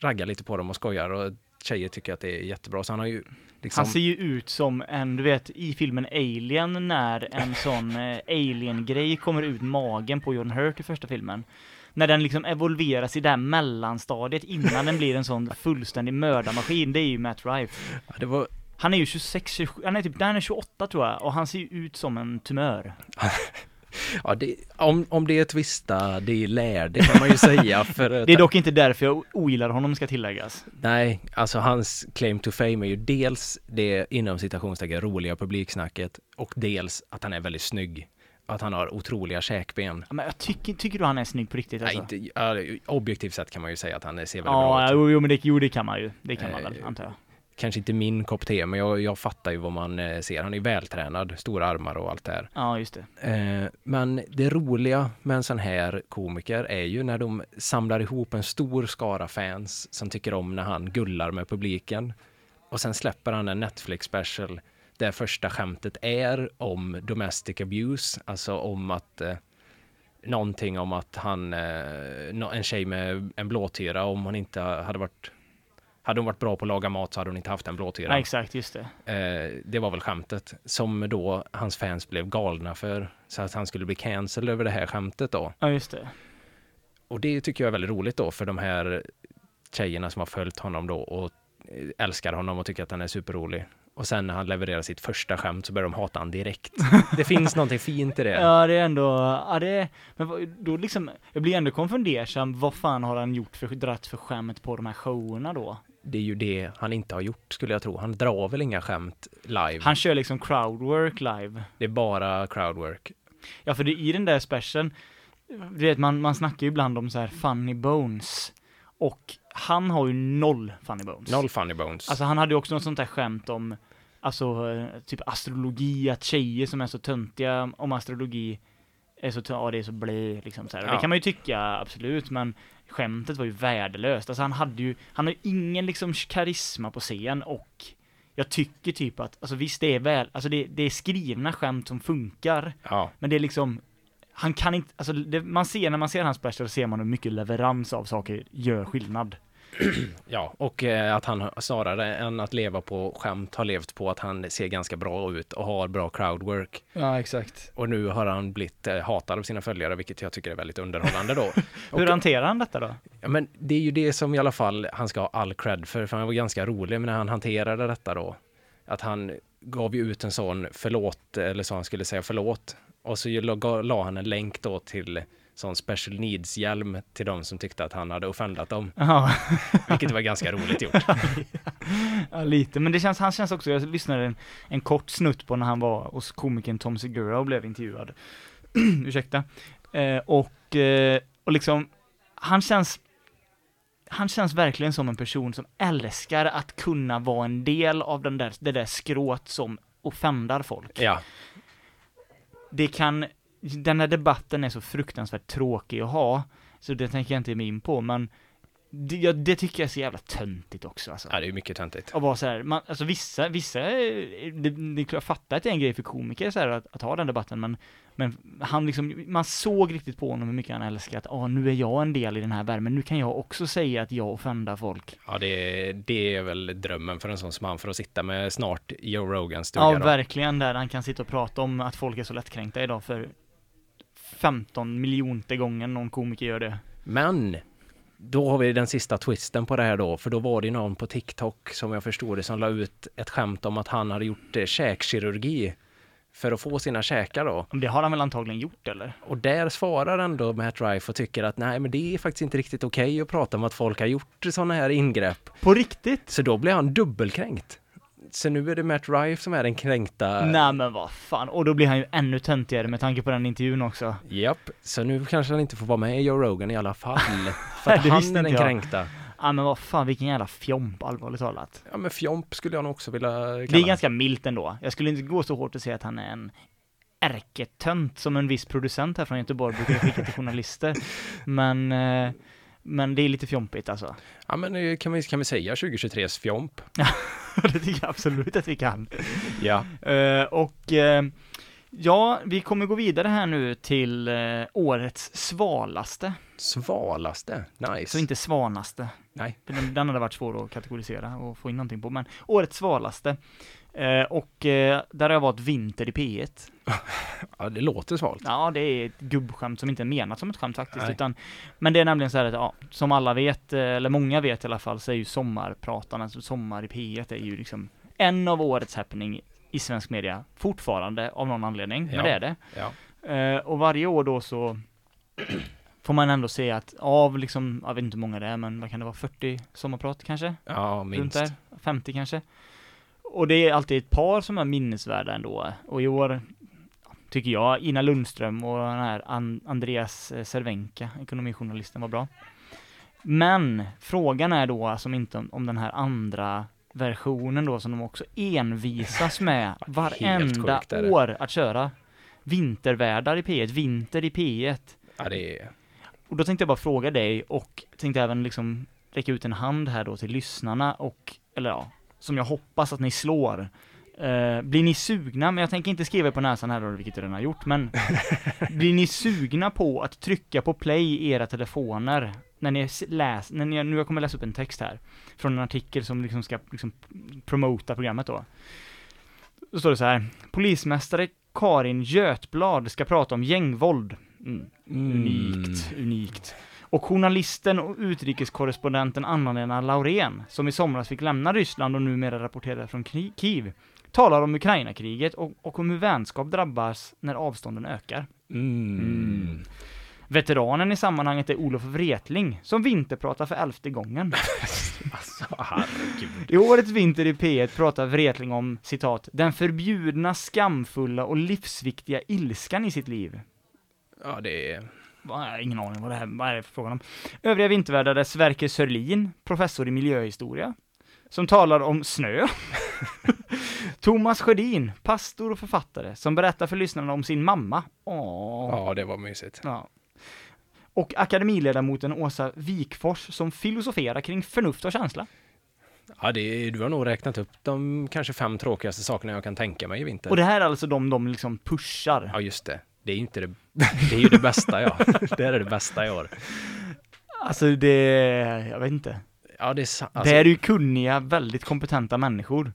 raggar lite på dem och skojar och tjejer tycker att det är jättebra. Så han har ju liksom...
Han ser ju ut som en, du vet, i filmen Alien när
<laughs>
en sån eh, alien-grej kommer ut magen på John Hurt i första filmen. När den liksom evolveras i det här mellanstadiet innan den blir en sån fullständig mördarmaskin, det är ju Matt Rife.
Ja, det var,
Han är ju 26, 27, han är typ, han är 28 tror jag, och han ser ju ut som en tumör.
ja, det, om, om det är twista, det är lär, det kan man
<laughs>
ju säga. För, att-
Det är dock inte därför jag ogillar honom ska tilläggas.
Nej, alltså hans claim to fame är ju dels det inom citationstecken roliga publiksnacket och dels att han är väldigt snygg. Att han har otroliga käkben.
Ja, Men jag tycker, tycker du han är snygg på riktigt alltså?
Nej, inte, ja, objektivt sett kan man ju säga att han ser väldigt bra alltså.
Ja,
ut.
jo, jo men det, jo, det kan man ju. Det kan man
Eh,
väl, antar jag.
kanske inte min kopp te, men jag, jag fattar ju vad man eh, ser. Han är vältränad, stora armar och allt det här.
Ja, just det.
Eh, Men det roliga med en sån här komiker är ju när de samlar ihop en stor skara fans som tycker om när han gullar med publiken. Och sen släpper han en Netflix special där första skämtet är om domestic abuse, alltså om att eh, någonting om att han, eh, nå- en tjej med en blåtira, om hon inte hade varit, hade hon varit bra på att laga mat så hade hon inte haft en blåtira.
Ja, exakt, just det.
Eh, det var väl skämtet som då hans fans blev galna för. Så att han skulle bli cancelled över det här skämtet då.
Ja, just det.
Och det tycker jag är väldigt roligt då för de här tjejerna som har följt honom då och eh, älskar honom och tycker att han är superrolig. Och sen när han levererar sitt första skämt så börjar de hata han direkt. Det finns någonting fint i det.
<laughs> Ja, det är ändå, ja det, men vad- då liksom, jag blir ändå konfundersam, vad fan har han gjort för, dratt för skämt på de här showerna då?
Det är ju det han inte har gjort skulle jag tro. Han drar väl inga skämt live.
Han kör liksom crowdwork live.
Det är bara crowdwork.
Ja, för det, i den där specialen, du vet, man, man snackar ju ibland om så här funny bones. Och han har ju noll funny bones.
Noll funny bones.
Alltså han hade ju också något sånt där skämt om, alltså eh, typ astrologi, att tjejer som är så töntiga om astrologi är så tö- ja det är så blä liksom så här. Och
Ja.
Det kan man ju tycka absolut, men skämtet var ju värdelöst. Alltså han hade ju, han har ju ingen liksom karisma på scen och jag tycker typ att, alltså visst det är väl, alltså det, det är skrivna skämt som funkar,
ja.
men det är liksom han kan inte, alltså det, man ser när man ser hans special ser man hur mycket leverans av saker gör skillnad.
Ja, och eh, att han snarare än att leva på skämt har levt på att han ser ganska bra ut och har bra crowdwork.
Ja, exakt.
Och nu har han blivit eh, hatad av sina följare, vilket jag tycker är väldigt
<laughs>
underhållande då.
Hur hanterar han detta då?
Ja, men det är ju det som i alla fall han ska ha all cred för, för han var ganska rolig när han hanterade detta då. Att han gav ju ut en sån förlåt, eller så han skulle säga förlåt. Och så ju la- ga- la han en länk då till sån special needs-hjälm till de som tyckte att han hade offendat dem,
Ja, <laughs>
vilket var ganska roligt gjort.
ja, lite. Men det känns, han känns också, jag lyssnade en, en kort snutt på när han var hos komikern Tom Segura och blev intervjuad. <clears throat> Ursäkta. Eh, och, eh, och liksom, han känns, han känns verkligen som en person som älskar att kunna vara en del av den där, det där skrået som offendar folk.
Ja,
Det kan, den här debatten är så fruktansvärt tråkig att ha, så det tänker jag inte ge mig in på, men det, jag, det tycker jag är så jävla töntigt också alltså.
ja det är ju mycket töntigt.
Och bara så här, man, alltså vissa, vissa, eh, det, det, jag fattar att det är en grej för komiker så här, att, att ha den debatten, men, men han liksom, man såg riktigt på honom hur mycket han älskar att, ah, nu är jag en del i den här värmen, nu kan jag också säga att jag offendar folk.
Ja, det, det är väl drömmen för en sån som han, för att sitta med snart Joe Rogans stuga.
Ja,
då.
verkligen, där han kan sitta och prata om att folk är så lättkränkta idag för 15 miljonte gången någon komiker gör det.
Men då har vi den sista twisten på det här då, för då var det någon på TikTok som jag förstod det som la ut ett skämt om att han hade gjort eh, käkkirurgi för att få sina käkar då.
Men Det har han väl antagligen gjort eller?
Och där svarar ändå Matt Rife och tycker att nej, men det är faktiskt inte riktigt okej att prata om att folk har gjort sådana här ingrepp.
På riktigt?
Så då blir han dubbelkränkt. Så nu är det Matt Rife som är den kränkta.
Nej men vad fan, och då blir han ju ännu töntigare med tanke på den intervjun också.
Japp, så nu kanske han inte får vara med i Joe Rogan i
<laughs>
alla fall. För att
Det
han
visste
är den
inte jag.
kränkta.
Ja men vad fan, vilken jävla fjomp allvarligt talat.
Ja men fjomp skulle jag nog också vilja kalla
Det är ganska milt ändå. Jag skulle inte gå så hårt och säga att han är en ärketönt som en viss producent här från Göteborg brukar skicka <laughs> till journalister. Men, eh, men det är lite fjompigt <laughs> alltså.
Ja men eh, kan vi, kan vi säga 2023s fjomp?
det tycker jag absolut att vi kan.
Ja.
Eh, och eh, ja, vi kommer gå vidare här nu till eh, årets svalaste.
Svalaste, nice.
Så inte svanaste.
Nej.
För Den, den hade varit svår att kategorisera och få in någonting på. Men årets svalaste. Eh, och eh, där har jag varit vinter i P1.
Ja det låter svalt.
Ja, det är ett gubbskämt som inte är menat som ett skämt faktiskt,
Nej.
utan Men det är nämligen så här att, ja, som alla vet, eh, eller många vet i alla fall, så är ju sommarpratarna, alltså Sommar i P1 är ju liksom en av årets happening i svensk media, fortfarande av någon anledning,
Ja.
men det är det.
Ja.
Eh, och varje år då så får man ändå se att av liksom, jag vet inte hur många det är, men vad kan det vara, 40 sommarprat kanske?
Ja, minst.
Runt där, 50 kanske. Och det är alltid ett par som är minnesvärda ändå. Och i år tycker jag Ina Lundström och den här An- Andreas eh, Cervenka, ekonomijournalisten, var bra. Men frågan är då alltså inte om, om den här andra versionen då som de också
<laughs>
envisas med varenda
sjukt är det.
år att köra. Vintervärdar i P1, vinter i P1.
Ja, det är...
Och då tänkte jag bara fråga dig och tänkte även liksom räcka ut en hand här då till lyssnarna och, eller ja, som jag hoppas att ni slår. Eh, blir ni sugna, men jag tänker inte skriva er på näsan här då, vilket jag redan har gjort, men blir ni sugna på att trycka på play i era telefoner när ni s- läs, när ni, nu jag kommer läsa upp en text här, från en artikel som liksom ska liksom promota programmet då. Då står det så här, polismästare Karin Götblad ska prata om gängvåld. Mm. Unikt, unikt. Och journalisten och utrikeskorrespondenten Anna-Lena Laurén, som i somras fick lämna Ryssland och numera rapporterar från Kri- Kiev, talar om Ukrainakriget och, och om hur vänskap drabbas när avstånden ökar.
Mm.
Veteranen i sammanhanget är Olof Wretling, som vinterpratar för elfte gången.
Alltså, herregud.
I årets Vinter i P1 pratar Wretling om, citat, den förbjudna, skamfulla och livsviktiga ilskan i sitt liv.
Ja, det är...
Jag har ingen aning vad det här vad är det för frågan om. Övriga vintervärdar är Sverker Sörlin, professor i miljöhistoria, som talar om snö. <laughs> Thomas Sjödin, pastor och författare, som berättar för lyssnarna om sin mamma. Åh.
Ja, det var mysigt.
Ja. Och akademiledamoten Åsa Wikfors som filosoferar kring förnuft och känsla.
Ja, det är, du har nog räknat upp de kanske fem tråkigaste sakerna jag kan tänka mig i vinter.
Och det här är alltså de de liksom pushar.
Ja, just det. Det är ju inte det... Det är ju det bästa, ja. <laughs> Det här är det bästa i år.
Alltså det, jag vet inte.
Ja, det är... sa-
det
Alltså,
är ju kunniga, väldigt kompetenta människor.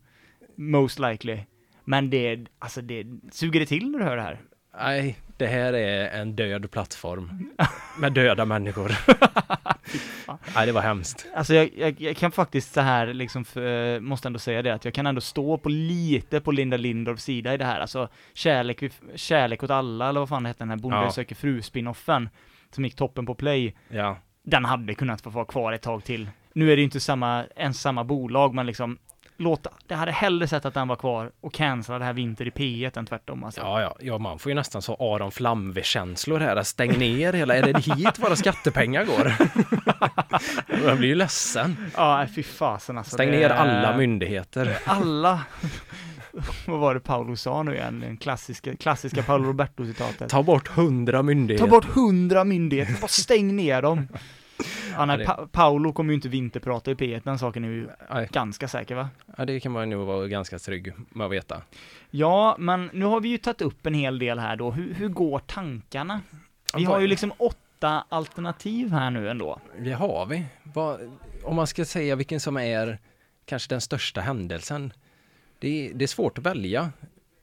Most likely. Men det, alltså det, suger det till när du hör det här?
nej, det här är en död plattform. Med döda <laughs> människor. Nej, det var hemskt.
Alltså jag, jag, jag kan faktiskt så här liksom, för, eh, måste ändå säga det att jag kan ändå stå på lite på Linda Lindorffs sida i det här. Alltså kärlek, vid- kärlek åt alla, eller vad fan hette den här Bonde
Ja.
söker fru-spinoffen, som gick toppen på play.
Ja.
Den hade kunnat få vara kvar ett tag till. Nu är det ju inte samma, ens samma bolag, men liksom Låta, jag hade hellre sett att den var kvar och cancella det här Vinter i P1 än tvärtom alltså.
Ja, ja, ja, man får ju nästan så Aron Flamve-känslor här. att Stäng ner hela, är det hit våra skattepengar <laughs> går? Jag blir ju ledsen.
Ja, fy fasen alltså.
Stäng
det-
ner alla myndigheter.
Alla. <laughs> Vad var det Paolo sa nu igen? Den klassiska, klassiska Paolo Roberto-citatet.
Ta bort hundra
Ta
myndigheter.
bort hundra myndigheter, bara stäng ner dem. Ja,
Ja,
nej,
det-
pa- Paolo kommer ju inte vinterprata i P1, den saken är ju
Nej,
ganska säker va?
Ja, det kan man nog vara ganska trygg med att veta.
Ja, men nu har vi ju tagit upp en hel del här då. Hur, hur går tankarna? Vi har ju liksom åtta alternativ här nu ändå.
Det har vi. Vad, om man ska säga vilken som är kanske den största händelsen. Det, är- det är svårt att välja.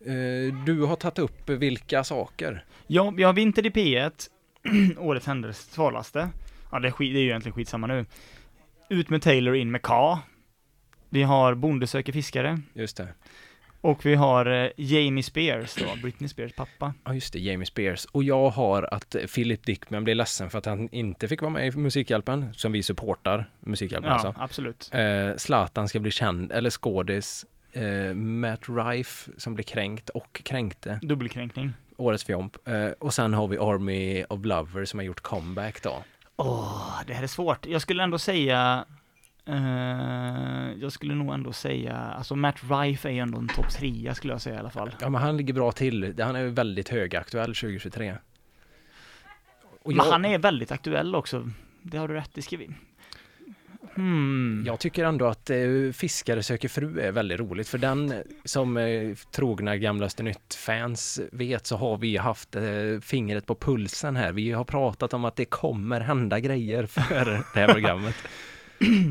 Eh, Du har tagit upp vilka saker?
Ja, vi har Vinter i P1, <clears throat> årets händelse svalaste. Ja, det är, skit, det är ju egentligen skitsamma nu. Ut med Taylor, in med K. Vi har Bonde söker fiskare.
Just det.
Och vi har eh, Jamie Spears då, Britney Spears pappa.
Ja, just det, Jamie Spears. Och jag har att Philip Dickman blev ledsen för att han inte fick vara med i Musikhjälpen, som vi supportar, Musikhjälpen
Ja,
alltså.
absolut.
Eh, Zlatan ska bli känd, eller skådis. Eh, Matt Rife som blir kränkt och kränkte.
Dubbelkränkning.
Årets fjomp. Eh, och sen har vi Army of Lovers som har gjort comeback då.
Åh, det här är svårt. Jag skulle ändå säga... eh, jag skulle nog ändå säga, alltså Matt Rife är ju ändå en topp trea skulle jag säga i alla fall.
Ja, men han ligger bra till. Han är ju väldigt högaktuell 2023. Och
Men han är väldigt aktuell också. Det har du rätt i, ska vi... Hmm.
Jag tycker ändå att eh, Fiskare söker fru är väldigt roligt för den som eh, trogna Gamlaste Nytt-fans vet så har vi haft eh, fingret på pulsen här. Vi har pratat om att det kommer hända grejer för det här
<laughs>
programmet.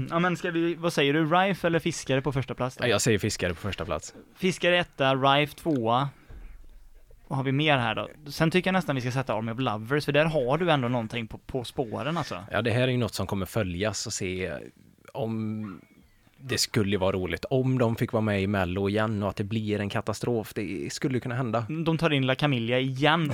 Ja men ska vi, vad säger du, Rife eller Fiskare på första plats då?
Ja, Jag säger Fiskare på första plats.
Fiskare etta, Rife tvåa. Vad har vi mer här då? Sen tycker jag nästan vi ska sätta Army of Lovers, för där har du ändå någonting på, på spåren alltså.
Ja, det här är ju något som kommer följas och se om det skulle ju vara roligt om de fick vara med i Mello igen och att det blir en katastrof. Det skulle kunna hända.
De tar in La Camilla igen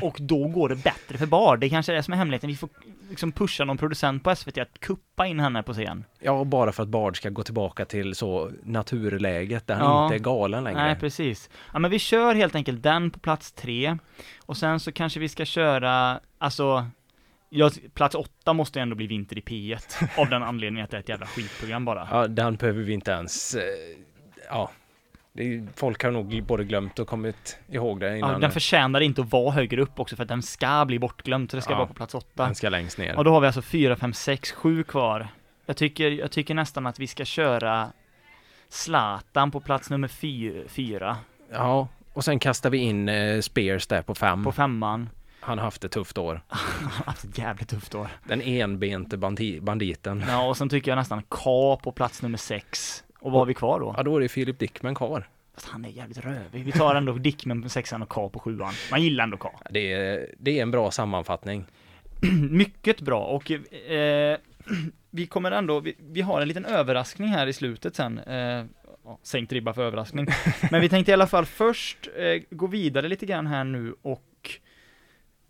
och, och då går det bättre för Bar. Det kanske är det som är hemligheten. Vi får liksom pusha någon producent på SVT att kuppa in henne på scen.
Ja, bara för att Bard ska gå tillbaka till så naturläget där han
Ja.
inte är galen längre.
Nej, precis. Ja, men vi kör helt enkelt den på plats tre. Och sen så kanske vi ska köra, alltså, jag, plats åtta måste ändå bli Vinter i
<laughs>
P1, av den anledningen att det är ett jävla skitprogram bara.
Ja, den behöver vi inte ens... eh, Ja. Det är, ju- folk har nog både glömt och kommit ihåg det innan
Ja, den förtjänar inte att vara högre upp också, för att den ska bli bortglömd, så det ska
Ja.
vara på plats åtta.
den ska längst ner.
Och då har vi alltså fyra, fem, sex, sju kvar. Jag tycker, jag tycker nästan att vi ska köra Zlatan på plats nummer fy- fyra,
Ja, och sen kastar vi in eh, Spears där på fem.
på femman. <laughs>
Han har haft ett tufft år.
Haft ett jävligt tufft år.
Den enbente bandi- banditen.
Ja, och sen tycker jag nästan K på plats nummer sex. Och vad har vi kvar då?
Ja, då är det Filip Dickman kvar.
Fast han är jävligt rövig. Vi tar ändå Dickman på sexan och K på sjuan. Man gillar ändå K. <clears throat>
Det är, det är en bra sammanfattning.
Mycket bra och eh, <clears throat> vi kommer ändå, vi, vi har en liten överraskning här i slutet sen. Eh, ja, sänkt ribba för överraskning. Men vi tänkte i alla fall först eh, gå vidare lite grann här nu och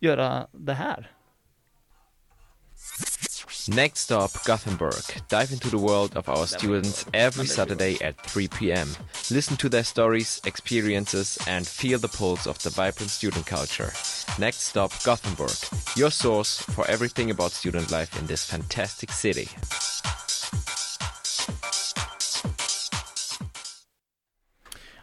göra det här.
Next up, Gothenburg. Dive into the world of our students every Saturday at 3 p.m. Listen to their stories, experiences, and feel the pulse of the vibrant student culture. Next stop, Gothenburg. Your source for everything about student life in this fantastic city.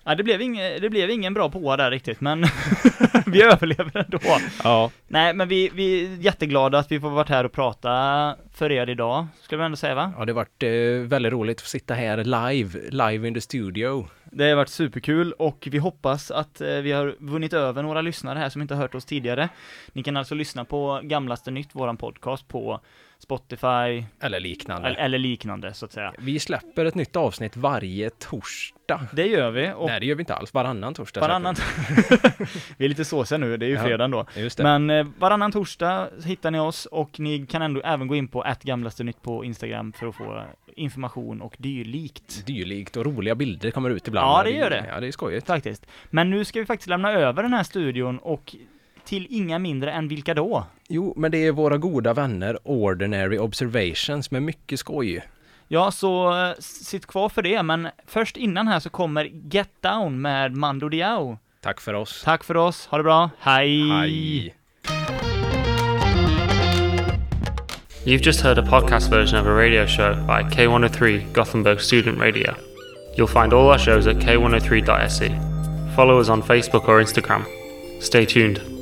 Ja, det, blev ing, det blev ingen bra påa där riktigt men <laughs> vi överlever ändå.
Ja.
Nej men vi, vi är jätteglada att vi får varit här och prata för er idag, skulle vi ändå säga va?
Ja, det har varit eh, väldigt roligt att sitta här live, live in the studio.
Det har varit superkul och vi hoppas att eh, vi har vunnit över några lyssnare här som inte har hört oss tidigare. Ni kan alltså lyssna på Gamlaste Nytt, våran podcast, på Spotify
Eller liknande.
eller, eller liknande så att säga.
Vi släpper ett nytt avsnitt varje torsdag.
Det gör vi och
Nej, det gör vi inte alls. Varannan torsdag. släpper
varannan... <laughs> vi är lite såsiga nu, det är ju
Ja.
fredag då.
vi. Just det.
Men eh, varannan torsdag hittar ni oss och ni kan ändå även gå in på @gamlastenytt på Instagram för att få information och dylikt.
Dylikt och roliga bilder kommer ut ibland.
Ja, det gör det.
Ja, det är skojigt.
Faktiskt. Men nu ska vi faktiskt lämna över den här studion och till inga mindre än vilka då?
Jo, men det är våra goda vänner Ordinary Observations med mycket skoj.
Ja, så eh, sitt kvar för det, men först innan här så kommer Get Down med Mando Diao.
Tack för oss.
Tack för oss, ha det bra, hej!
Hej.
You've just heard a podcast version of a radio show by K103 Gothenburg Student Radio. You'll find oh E. all our shows at k103.se. Follow us on Facebook or Instagram. Stay tuned.